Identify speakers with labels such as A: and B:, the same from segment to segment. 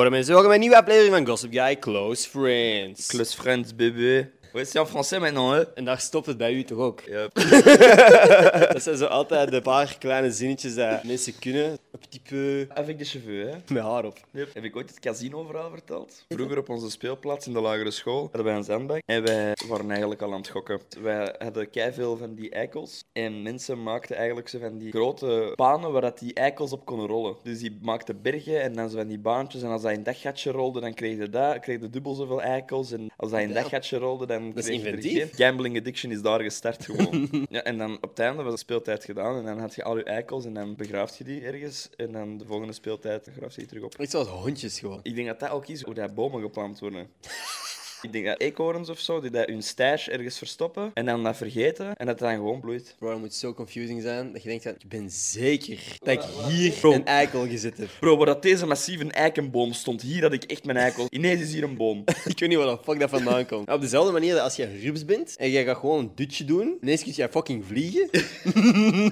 A: Hoor mensen, welkom bij een nieuwe aflevering van Gossip Guy Close Friends.
B: Close friends, bébé. Ouais, c'est en français maintenant, hein
A: En daar stopt het bij u toch ook?
B: Ja.
A: Dat zijn zo altijd de paar kleine zinnetjes dat mensen kunnen. Een petit peu
B: Avec des cheveux, hein. hè?
A: met haar op.
B: Heb ik ooit het casino-verhaal verteld? Vroeger op onze speelplaats in de lagere school hadden wij een zandbak en wij waren eigenlijk al aan het gokken. Wij hadden keiveel van die eikels en mensen maakten eigenlijk zo van die grote banen waar dat die eikels op konden rollen. Dus die maakten bergen en dan zo van die baantjes en als hij een daggatje rolde dan kreeg je dat, kreeg je dubbel zoveel eikels en als hij een daggatje rolde dan
A: Dat is
B: kreeg je er
A: inventief.
B: geen. Gambling addiction is daar gestart gewoon. ja, en dan op het einde was de speeltijd gedaan en dan had je al je eikels en dan begraaft je die ergens en dan de volgende speeltijd graaft je die terug op.
A: Iets zoals hondjes gewoon.
B: Ik denk dat dat ook is hoe dat bomen geplant worden. Ik denk dat eekhoorns of zo, die dat hun stash ergens verstoppen en dan dat vergeten en dat het dan gewoon bloeit.
A: Bro, dat moet zo confusing zijn dat je denkt dat ik ben zeker dat ik hier een eikel gezet heb.
B: Bro, waar dat deze massieve eikenboom stond, hier had ik echt mijn eikel. Ineens is hier een boom.
A: Ik weet niet waar de fuck dat vandaan komt. Op dezelfde manier dat als je rups bent en jij gaat gewoon een dutje doen, ineens kun jij fucking vliegen.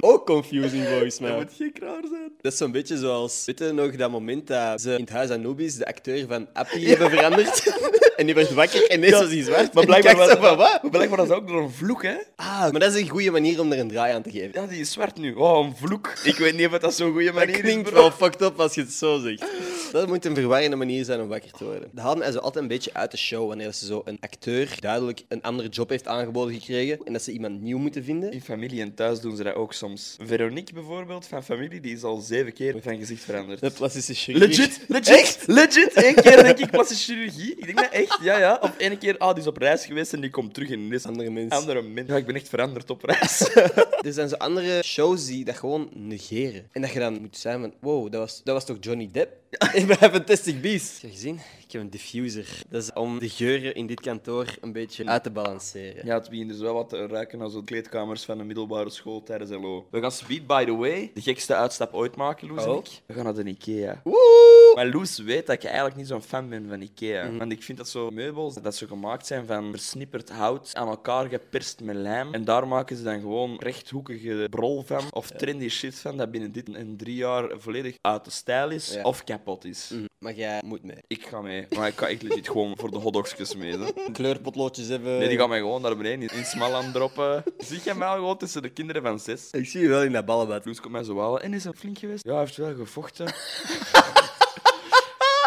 A: Ook confusing volgens mij.
B: gek raar zijn.
A: Dat is zo'n beetje zoals, weet je nog dat moment dat ze in het huis Anubis de acteur van Appie hebben veranderd? en die werd wakker en ineens was hij zwart.
B: Maar
A: En ik
B: blijkbaar,
A: dacht
B: was,
A: zo van, wat?
B: blijkbaar was dat ook door een vloek, hè?
A: Ah, maar dat is een goede manier om er een draai aan te geven.
B: Ja, die is zwart nu. Oh, een vloek. Ik weet niet of dat zo'n goede
A: Dat
B: manier
A: klinkt
B: is, bro.
A: wel fucked up als je het zo zegt. Dat moet een verwarrende manier zijn om wakker te worden. Dat haalden ze altijd een beetje uit de show wanneer ze zo een acteur duidelijk een andere job heeft aangeboden gekregen en dat ze iemand nieuw moeten vinden.
B: In familie en thuis doen ze dat ook soms. Veronique bijvoorbeeld, van familie, die is al zeven keer van gezicht veranderd.
A: De plastische chirurg.
B: Legit, legit, legit. Eén keer denk ik plastische chirurgie. Ik denk dat echt, ja, ja. Of één keer, ah, die is op reis geweest en die komt terug en is een
A: Andere mensen.
B: andere mens. Ja, ik ben echt veranderd op reis.
A: Er zijn Dus zo andere shows die dat gewoon negeren. En dat je dan moet zijn van, wow, dat was, dat was toch Johnny Depp? Ik ben Fantastic Beast. Heb je gezien? Ik heb een diffuser. Dat is om de geuren in dit kantoor een beetje uit te balanceren.
B: Ja, het begint dus wel wat te ruiken naar zo'n kleedkamers van de middelbare school tijdens LO. We gaan speed, by the way, de gekste uitstap ooit maken, Loes en
A: Oh.
B: ik. We gaan naar de Ikea.
A: Woe!
B: Maar Loes weet dat ik eigenlijk niet zo'n fan ben van Ikea. Want ik vind dat zo meubels, dat ze gemaakt zijn van versnipperd hout, aan elkaar geperst met lijm. En daar maken ze dan gewoon rechthoekige brol van, of trendy shit van, dat binnen dit en drie jaar volledig uit de stijl is,
A: Ja.
B: of kapot is.
A: Maar jij moet mee.
B: Ik ga mee, maar ik ga echt legit gewoon voor de hotdogsjes mee. hè.
A: Kleurpotloodjes hebben.
B: Nee, die gaan mij gewoon naar beneden in- in Smalland droppen. Zie jij mij al gewoon tussen de kinderen van zes?
A: Ik zie je wel in dat ballenbad.
B: Loes komt mij zo halen. En is dat flink geweest? Ja, hij heeft wel gevochten.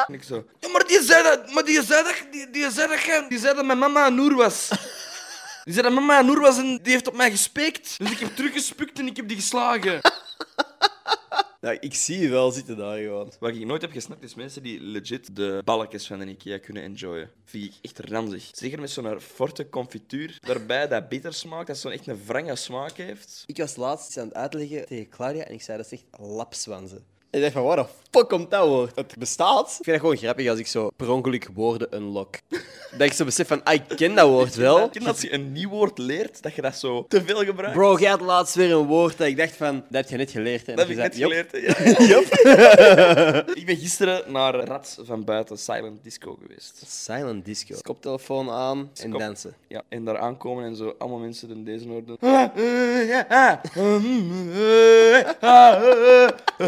B: en ik zo... "Ja, maar die zei dat... Maar die zei dat... Die, die zei dat... jij- Die zei dat mijn mama een noer was. Die zei dat mama een noer was en die heeft op mij gespikt. Dus ik heb teruggespukt en ik heb die geslagen.
A: Nou, ik zie je wel zitten daar gewoon.
B: Wat ik nooit heb gesnapt is mensen die legit de balkjes van de Ikea kunnen enjoyen. Vind ik echt ranzig. Zeker met zo'n forte confituur. Daarbij dat bitter smaakt, dat zo'n echt een wrange smaak heeft.
A: Ik was laatst iets aan het uitleggen tegen Claudia en ik zei dat is echt lapswanzen. En ik dacht van, waar de fuck komt dat woord? Het bestaat. Ik vind het gewoon grappig als ik zo per ongeluk woorden unlock. dat ik zo besef van, ah, ik ken dat woord wel.
B: Ken dat je een nieuw woord leert, dat je dat zo te veel gebruikt.
A: Bro, jij had laatst weer een woord dat ik dacht van, dat heb je net geleerd. hè?
B: dat
A: En
B: heb ik
A: toen
B: net
A: zei,
B: geleerd. hè. Ja. ik ben gisteren naar Rats van Buiten Silent Disco geweest.
A: "Jop." Silent disco. Koptelefoon aan en
B: Kop-
A: dansen.
B: Ja, en daar aankomen en zo, allemaal mensen doen deze noord doen.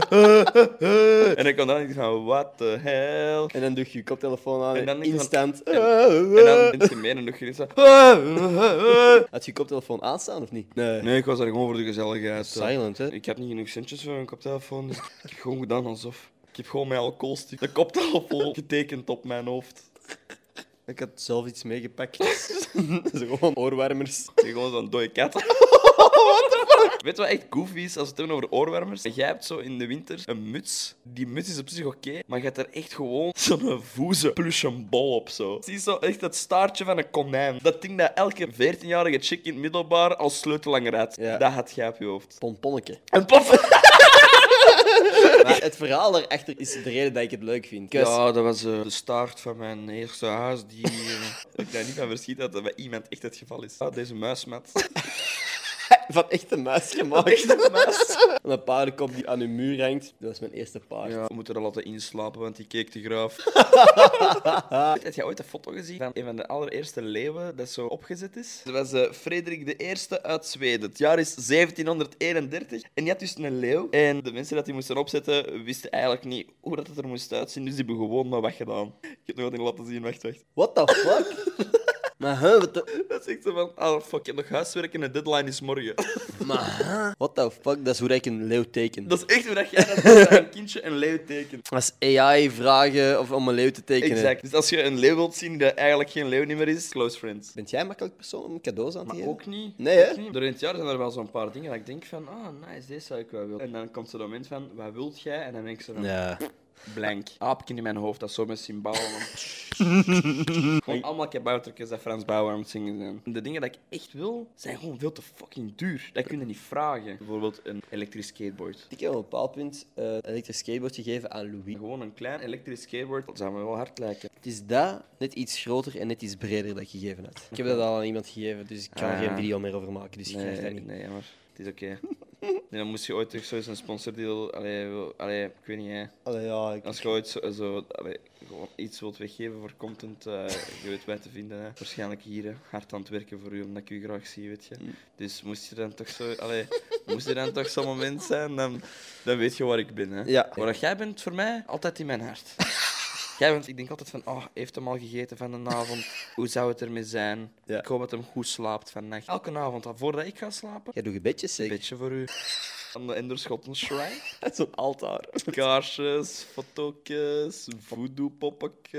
B: En ik kwam daar en ik dacht van, what the hell?
A: En dan doe je je koptelefoon aan
B: En
A: en,
B: dan denk je van-
A: instant.
B: En
A: Eh.
B: dan mensen mee en nog geen zo.
A: Had je je koptelefoon aanstaan of niet? Nee.
B: Nee, ik was daar gewoon voor de gezelligheid. eh.
A: Silent, hè?
B: Ik heb niet genoeg centjes voor een koptelefoon, dus ik heb gewoon gedaan alsof. Ik heb gewoon mijn alcoholstuk de koptelefoon getekend op mijn hoofd.
A: Ik had zelf iets meegepakt. Dat is gewoon oorwarmers.
B: Ik heb gewoon zo'n dode kat. Weet je wat echt goofy is als we het hebben over oorwarmers? Jij hebt zo in de winter een muts. Die muts is op zich oké, maar je hebt er echt gewoon zo'n voeze plus een bol op zo. Zie je zo echt dat staartje van een konijn. Dat ding dat elke 14-jarige chick in het middelbaar als sleutelanger had.
A: Ja.
B: Dat had jij op je hoofd.
A: Pomponneke.
B: Een pop.
A: Maar het verhaal erachter is de reden dat ik het leuk vind. Ik was-
B: Ja, dat was eh, de start van mijn eerste huis. Die, eh, dat ik daar niet van verschiet dat dat bij iemand echt het geval is. Ah, deze muis, Matt.
A: Van echt een muis gemaakt.
B: Echte muis.
A: Van Een paardenkop die aan uw muur hangt. Dat was mijn eerste paard.
B: Ja, we moeten er laten inslapen, want die keek te graaf. Heb jij ooit een foto gezien van een van de allereerste leeuwen dat zo opgezet is? Dat was eh, Frederik I uit Zweden. Het jaar is 1731. En die had dus een leeuw. En de mensen dat die moesten opzetten, wisten eigenlijk niet hoe dat het er moest uitzien. Dus die hebben gewoon maar weggedaan. Ik heb nog wat in laten zien, wacht, wacht.
A: What the fuck? maar huh, what the,
B: Dat is echt zo van, oh fuck, ik heb nog huiswerk en de deadline is morgen.
A: maar huh? What the fuck? Dat is hoe ik een leeuw teken.
B: Dat is echt hoe dat jij dat doet, dat een kindje een leeuw tekent.
A: Als AI vragen of om een leeuw te tekenen.
B: Exact. Dus als je een leeuw wilt zien die eigenlijk geen leeuw niet meer is, close friends.
A: Bent jij een makkelijk persoon om cadeaus aan te
B: Maar
A: geven?
B: ook niet.
A: Nee, hè?
B: ook niet. Door in het jaar zijn er wel zo'n paar dingen dat ik denk van, ah, nice, deze zou ik wel willen. En dan komt zo'n moment van, wat wilt jij? En dan denk ik zo van,
A: Ja.
B: blank. Aapje in mijn hoofd, dat zo met cymbalen. gewoon allemaal kaboutertjes dat Frans Bauer aan het zingen zijn. De dingen dat ik echt wil, zijn gewoon veel te fucking duur. Dat kun je niet vragen. Bijvoorbeeld een elektrisch skateboard.
A: Ik heb op een bepaald punt eh, een elektrisch skateboard gegeven aan Louis.
B: Gewoon een klein elektrisch skateboard, dat zou me wel hard lijken.
A: Het is dat net iets groter en net iets breder dat ik gegeven had. Ik heb dat al aan iemand gegeven, dus ik kan
B: Ah.
A: er geen video meer over maken, dus ik krijg dat niet.
B: nee, jammer. Het is oké. Nee, dan moest je ooit terug zoiets een sponsordeal... Allee, wil- allee, ik weet niet, hè.
A: Allee, ja, ik...
B: Als je ooit zo, zo, allee, gewoon iets wilt weggeven voor content, eh, je weet mij te vinden. Hè. Waarschijnlijk hier hè. hard aan het werken voor u, omdat ik u graag zie, weet je.
A: Mm.
B: Dus moest je dan toch zo, allee, moest er dan toch zo'n moment zijn, dan, dan weet je waar ik ben. Hè.
A: Ja.
B: Maar jij bent voor mij altijd in mijn hart. Jij bent, ik denk altijd van, oh, heeft hem al gegeten van de avond? Hoe zou het ermee zijn?
A: Ja.
B: Ik hoop dat hem goed slaapt vannacht. Elke avond, al voordat ik ga slapen,
A: Jij doet gebedjes
B: een
A: zeker?
B: beetje voor u. Aan de Enderschotten Shrine.
A: Zo'n altaar.
B: Kaarsjes, fotootjes, voodoo-poppetje.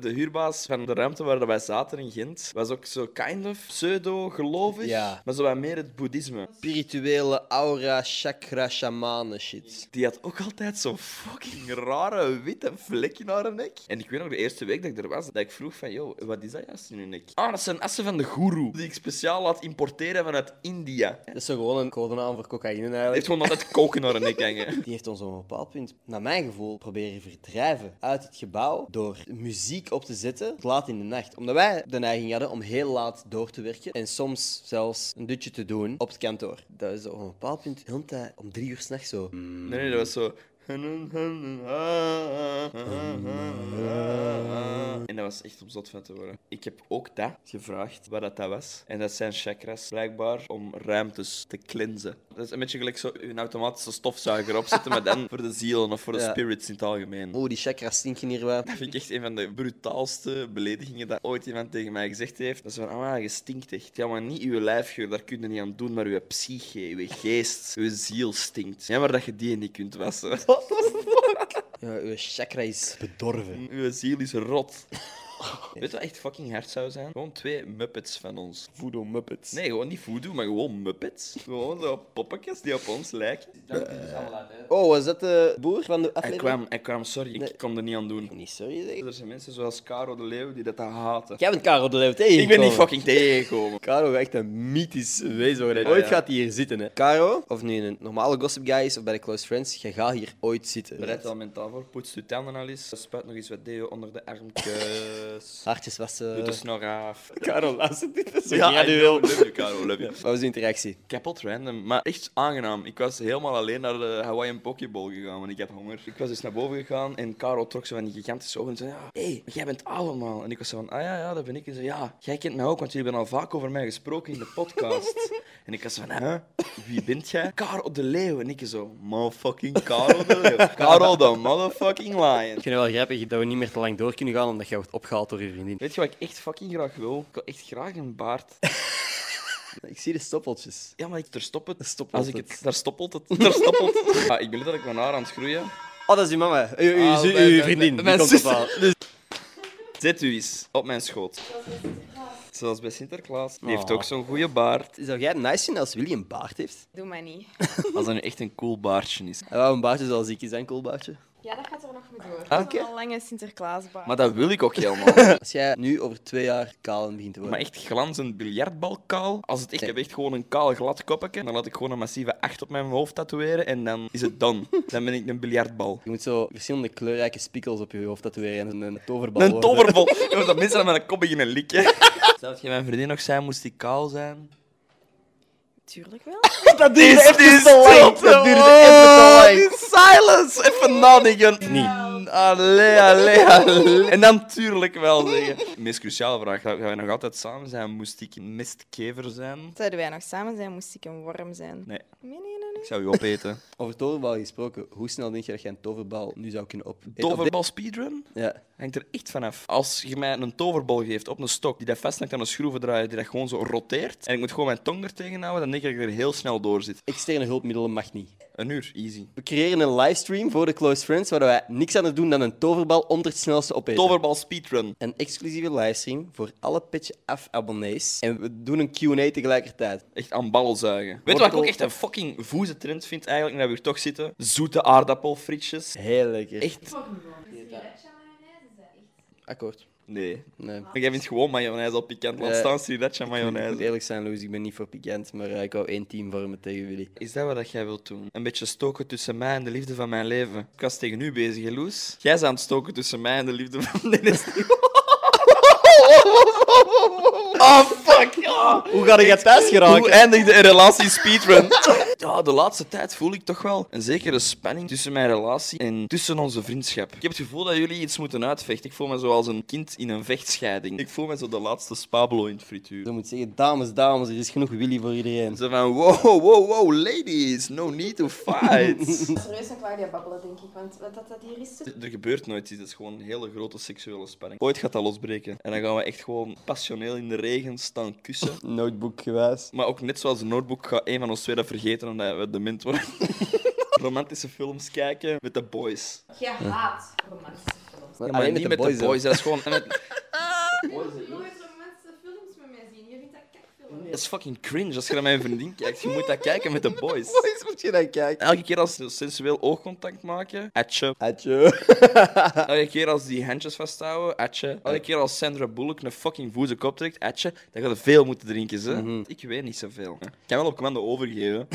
B: De huurbaas van de ruimte waar wij zaten in Gent was ook zo kind of pseudo-gelovig,
A: Ja.
B: maar zo wat meer het boeddhisme.
A: Spirituele aura, chakra, shamanen shit.
B: Die had ook altijd zo'n fucking rare witte vlek in haar nek. En ik weet nog de eerste week dat ik er was, dat ik vroeg van, yo, wat is dat juist in je nek? Ah, dat zijn assen van de guru, die ik speciaal laat importeren vanuit India.
A: Dat is zo gewoon een codenaam voor cocaïne
B: Hij
A: eigenlijk.
B: heeft gewoon altijd koken naar haar nek hangen.
A: Die heeft ons op een bepaald punt, naar mijn gevoel, proberen verdrijven uit het gebouw door muziek op te zetten tot laat in de nacht. Omdat wij de neiging hadden om heel laat door te werken en soms zelfs een dutje te doen op het kantoor. Dat is op een bepaald punt heel de tijd om drie uur s'nachts zo.
B: Nee, nee, dat was zo. En dat was echt om zot van te worden. Ik heb ook dat gevraagd, wat dat dat was. En dat zijn chakras, blijkbaar, om ruimtes te cleansen. Dat is een beetje gelijk zo een automatische stofzuiger opzetten, maar dan voor de zielen of voor de
A: Ja.
B: spirits in het algemeen.
A: Oeh, die chakras stinken hier wel.
B: Dat vind ik echt een van de brutaalste beledigingen dat ooit iemand tegen mij gezegd heeft. Dat is van, ah, je stinkt echt. Ja, maar niet uw lijfgeur, daar kun je niet aan doen, maar uw psyche, uw geest, uw ziel stinkt. Ja, maar dat je die niet kunt wassen.
A: Ja, uw chakra is bedorven.
B: Uw ziel is rot. Weet je wat echt fucking hard zou zijn? Gewoon twee Muppets van ons.
A: Voodoo Muppets.
B: Nee, gewoon niet voodoo, maar gewoon Muppets. Gewoon zo poppetjes die op ons lijken.
A: Oh, was dat de boer van de
B: Hij
A: aflevering?
B: kwam, hij kwam, sorry, ik kon er niet aan doen.
A: Niet sorry, zeg.
B: Er zijn mensen zoals Caro de Leeuw die dat haten.
A: Jij bent Karel de Leeuw
B: Ik ben niet
A: tegengekomen.
B: fucking tegengekomen.
A: Caro echt een mythisch wezen worden.
B: Ja,
A: ooit
B: ja.
A: gaat hij hier zitten, hè. Caro, of nu in een normale Gossip Guy is of bij de Close Friends, je gaat hier ooit zitten.
B: Bereid al mentaal voor, poets je tanden al eens. Spuit nog eens wat deo onder de armkes.
A: Hartjes wassen.
B: Doe de snor af.
A: Caro, luister dit. is
B: Ja, I know. Love you, Caro, love you.
A: Wat was de interactie?
B: Kapot random, maar echt aangenaam. Ik was helemaal alleen naar de Hawaiian Pokeball gegaan, want ik had honger. Ik was dus naar boven gegaan en Karel trok ze van die gigantische ogen en zei: ja, Hé, hey, maar jij bent allemaal. En ik was zo van: Ah ja, ja, dat ben ik. En zei: Ja, jij kent mij ook, want jullie hebben al vaak over mij gesproken in de podcast. en ik was van: Hè, wie bent jij? Karel de Leeuw. En ik zo: Motherfucking Karel de Leeuw. Karel de motherfucking lion.
A: Ik vind het wel grappig dat we niet meer te lang door kunnen gaan omdat je wordt opgehaald door je vriendin.
B: Weet je wat ik echt fucking graag wil? Ik wil echt graag een baard.
A: Ik zie de stoppeltjes.
B: Ja, maar ik, daar stopt het.
A: stopt
B: Als ik
A: het.
B: het. Daar stoppelt het. Daar stoppelt het. Ah, ik ben letterlijk mijn haar aan het groeien.
A: Oh, dat is uw mama. U, u,
B: Ah,
A: u-
B: bij-
A: uw
B: bij-
A: vriendin.
B: bij-
A: Die
B: mijn
A: komt
B: zus.
A: ophaal.
B: Zet u eens op mijn schoot. Zoals bij Sinterklaas. Die heeft
A: Oh.
B: ook zo'n goede baard.
A: Zou jij het nice vinden als Willy een baard heeft?
C: Doe mij niet.
B: Als dat nu echt een cool baardje is.
A: Hij wou een baardje zoals ik, is enkel baardje.
C: Ja, dat gaat er nog mee door.
B: Ah,
C: Dat is
B: oké.
C: een lange Sinterklaasbaar.
B: Maar dat wil ik ook helemaal.
A: Als jij nu over twee jaar kaal begint te worden.
B: maar echt glanzend biljartbalkaal. Als het echt, ik
A: Nee.
B: heb echt gewoon een kaal glad koppetje. Dan laat ik gewoon een massieve 8 op mijn hoofd tatoeëren. En dan is het dan. Dan ben ik een biljartbal.
A: Je moet zo verschillende kleurrijke spiekels op je hoofd tatoeëren en een toverbal
B: Een
A: worden.
B: toverbol. Ja, dat mensen aan mijn kop beginnen likken. Zou je mijn vriendin nog zijn, moest die kaal zijn?
C: Tuurlijk wel.
B: Dat duurde even te lang. Dat duurde even te lang. In silence. Even nadenken. Niet. Allee, allee, allee. En dan tuurlijk wel zeggen. De meest cruciale vraag. Gaan wij nog altijd samen zijn? Moest ik een mistkever zijn?
C: Zouden wij nog samen zijn, moest ik een worm zijn.
B: Nee.
C: Nee, nee, nee. nee.
B: Ik zou u opeten.
A: Over toverbal gesproken, hoe snel denk je dat jij een toverbal nu zou kunnen op... op
B: Toverbal speedrun?
A: de- Ja.
B: Hangt er echt vanaf. Als je mij een toverbal geeft op een stok, die dat vastnakt aan een schroevendraaier, die dat gewoon zo roteert, en ik moet gewoon mijn tong er tegen houden, dan denk ik dat ik er heel snel door zit.
A: Externe hulpmiddelen mag niet.
B: Een uur, easy.
A: We creëren een livestream voor de Close Friends waar wij niks aan het doen dan een toverbal onder het snelste opeten.
B: Toverbal speedrun.
A: Een exclusieve livestream voor alle Pitch Af abonnees. En we doen een Q&A tegelijkertijd.
B: Echt aan bal zuigen. Weet je wat ik ook echt een fucking voeze trend vind eigenlijk, en dat we hier toch zitten? Zoete aardappelfrietjes.
A: Heel lekker.
B: Echt?
A: Akkoord.
B: Nee.
A: Nee.
B: Maar Jij vindt gewoon mayonaise al pikant. Laat
A: Ja.
B: staan sriracha
A: Ik moet
B: mayonaise.
A: eerlijk zijn, Louis, ik ben niet voor pikant, maar eh, ik hou één team vormen tegen jullie.
B: Is dat wat jij wilt doen? Een beetje stoken tussen mij en de liefde van mijn leven. Ik was tegen u bezig, hè, Loes. Jij is aan het stoken tussen mij en de liefde van... Nee, dat is niet- Oh, fuck! ja.
A: Hoe ga ik thuis
B: Hoe eindigde een relatie speedrun? Ja, de laatste tijd voel ik toch wel een zekere spanning tussen mijn relatie en tussen onze vriendschap. Ik heb het gevoel dat jullie iets moeten uitvechten. Ik voel me zoals een kind in een vechtscheiding. Ik voel me zo de laatste spabelo in het frituur.
A: Je moet zeggen, dames, dames, er is genoeg Willy voor iedereen.
B: Zo van, wow, wow, wow, ladies, no need to fight.
C: Serieus en Claudia babbelen, denk ik. Want wat dat, dat hier is...
B: Er gebeurt nooit iets, dat is gewoon een hele grote seksuele spanning. Ooit gaat dat losbreken. En dan gaan we echt gewoon passioneel in de regen staan kussen.
A: Notebook gewijs.
B: Maar ook net zoals de notebook gaat een van ons twee dat vergeten omdat we dement worden. Romantische films kijken met de boys.
C: Je haat romantische films.
A: Maar,
B: maar niet met de boys, dat is gewoon... met-
C: Nooit romantische films met mij zien. Je vindt dat kakfilm.
B: Dat is fucking cringe als je naar mijn vriendin kijkt. Je moet dat kijken met de boys.
A: Boys moet je dan kijken. Ah,
B: Elke keer als ze sensueel oogcontact maken, atje.
A: Atje.
B: Elke keer als die handjes vasthouden, atje. Elke keer als Sandra Bullock een fucking voeze kop trekt, atje. Dan gaat er veel moeten drinken, ze.
A: Mhm.
B: Ik weet niet zoveel. Ik kan wel op commando overgeven.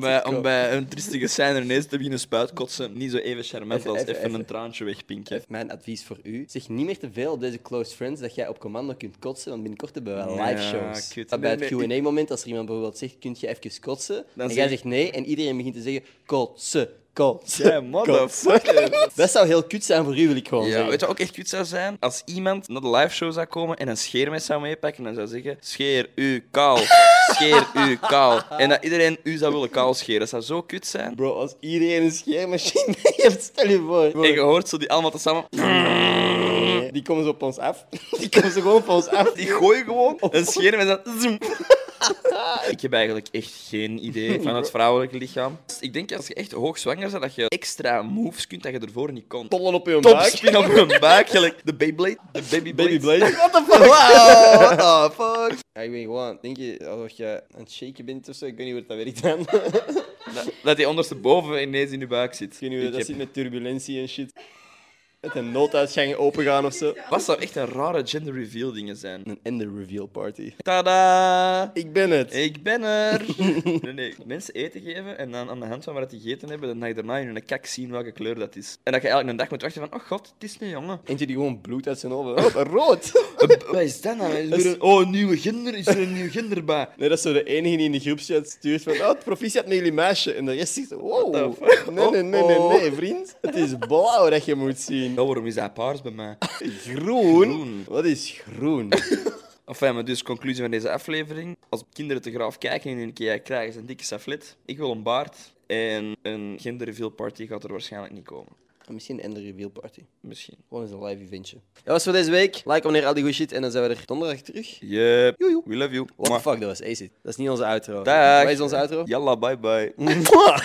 B: maar om bij een triestige scène ineens te beginnen spuitkotsen, niet zo even charmant
A: Even,
B: als
A: even,
B: even,
A: even.
B: een traantje wegpinken.
A: Mijn advies voor u, zeg niet meer te veel op deze close friends dat jij op commando kunt kotsen, want binnenkort hebben we
B: Ja,
A: live shows.
B: kut.
A: Dat bij het
B: Nee, nee,
A: Q&A moment, als er iemand bijvoorbeeld zegt, kun je even kotsen? en
B: zeg
A: jij
B: ik-
A: zegt nee, en iedereen begint te zeggen, kotsen, kotsen,
B: Yeah,
A: kotsen.
B: motherfucker.
A: Dat zou heel kut zijn voor u, wil ik gewoon
B: Ja,
A: zeggen.
B: weet je wat ook echt kut zou zijn? Als iemand naar de liveshow zou komen en een scheermes zou meepakken en dan zou zeggen: Scheer u kaal, scheer u kaal. En dat iedereen u zou willen kaal scheren. Dat zou zo kut zijn.
A: Bro, als iedereen een scheermachine mee heeft, stel je voor.
B: En je hoort zo die allemaal tezamen.
A: Die komen ze op ons af. Die komen ze gewoon op ons af.
B: Die gooien gewoon een scheer met dat. zoem. Oh. Ik heb eigenlijk echt geen idee van het vrouwelijke lichaam. Dus ik denk als je echt hoog zwanger bent, dat je extra moves kunt dat je ervoor niet kon.
A: tollen op hun
B: Topspin op hun buik, gelijk de Beyblade. De baby
A: Baby
B: blade.
A: Blade. What the fuck?
B: Wow, what the fuck?
A: Ja, ik weet gewoon, denk je, alsof je aan het shaken bent of zo? Ik weet niet hoe dat werkt dan.
B: Dat, dat die ondersteboven ineens in je buik zit.
A: Ik weet niet hoe
B: Ik
A: dat
B: heb-
A: zit met turbulentie en shit. Met een nooduitgang opengaan of zo.
B: Wat zou echt een rare gender reveal dingen zijn?
A: Een ender reveal party.
B: Tada!
A: Ik ben het.
B: Ik ben er! Nee, nee. Mensen eten geven en dan aan de hand van wat die gegeten hebben, dan ga je daarna in hun kak zien welke kleur dat is. En dat je eigenlijk een dag moet wachten van, oh god, het is een jongen.
A: Eentje die gewoon bloed uit zijn ogen. Rood!
B: Eh, Wat is dat nou? Is er weer een- Oh, een nieuwe gender? Is er een nieuw gender bij?
A: Nee, dat is zo de enige die in de groepschat stuurt van oh, het proficiat met jullie meisje. En de rest zegt, wow,
B: What the fuck?
A: nee, nee, nee, nee,
B: Oh,
A: nee, vriend. Het is blauw dat je moet zien.
B: Ja, waarom is dat paars bij mij?
A: Groen?
B: Groen.
A: Wat is groen? Ah,
B: Enfin, maar dus conclusie van deze aflevering. Als kinderen te graaf kijken en in een keer krijgen ze een dikke saflet. Ik wil een baard. En een gender reveal party gaat er waarschijnlijk niet komen.
A: Misschien een ender reveal party.
B: Misschien.
A: Gewoon eens een live eventje. Dat was voor deze week. Like, wanneer al die goede shit. En dan zijn we er donderdag terug.
B: Yep.
A: Joejoe.
B: We love you.
A: What the
B: Mwah.
A: fuck, dat was Acid. Dat is niet onze outro.
B: Dag.
A: Wat is onze outro?
B: Yalla, bye bye.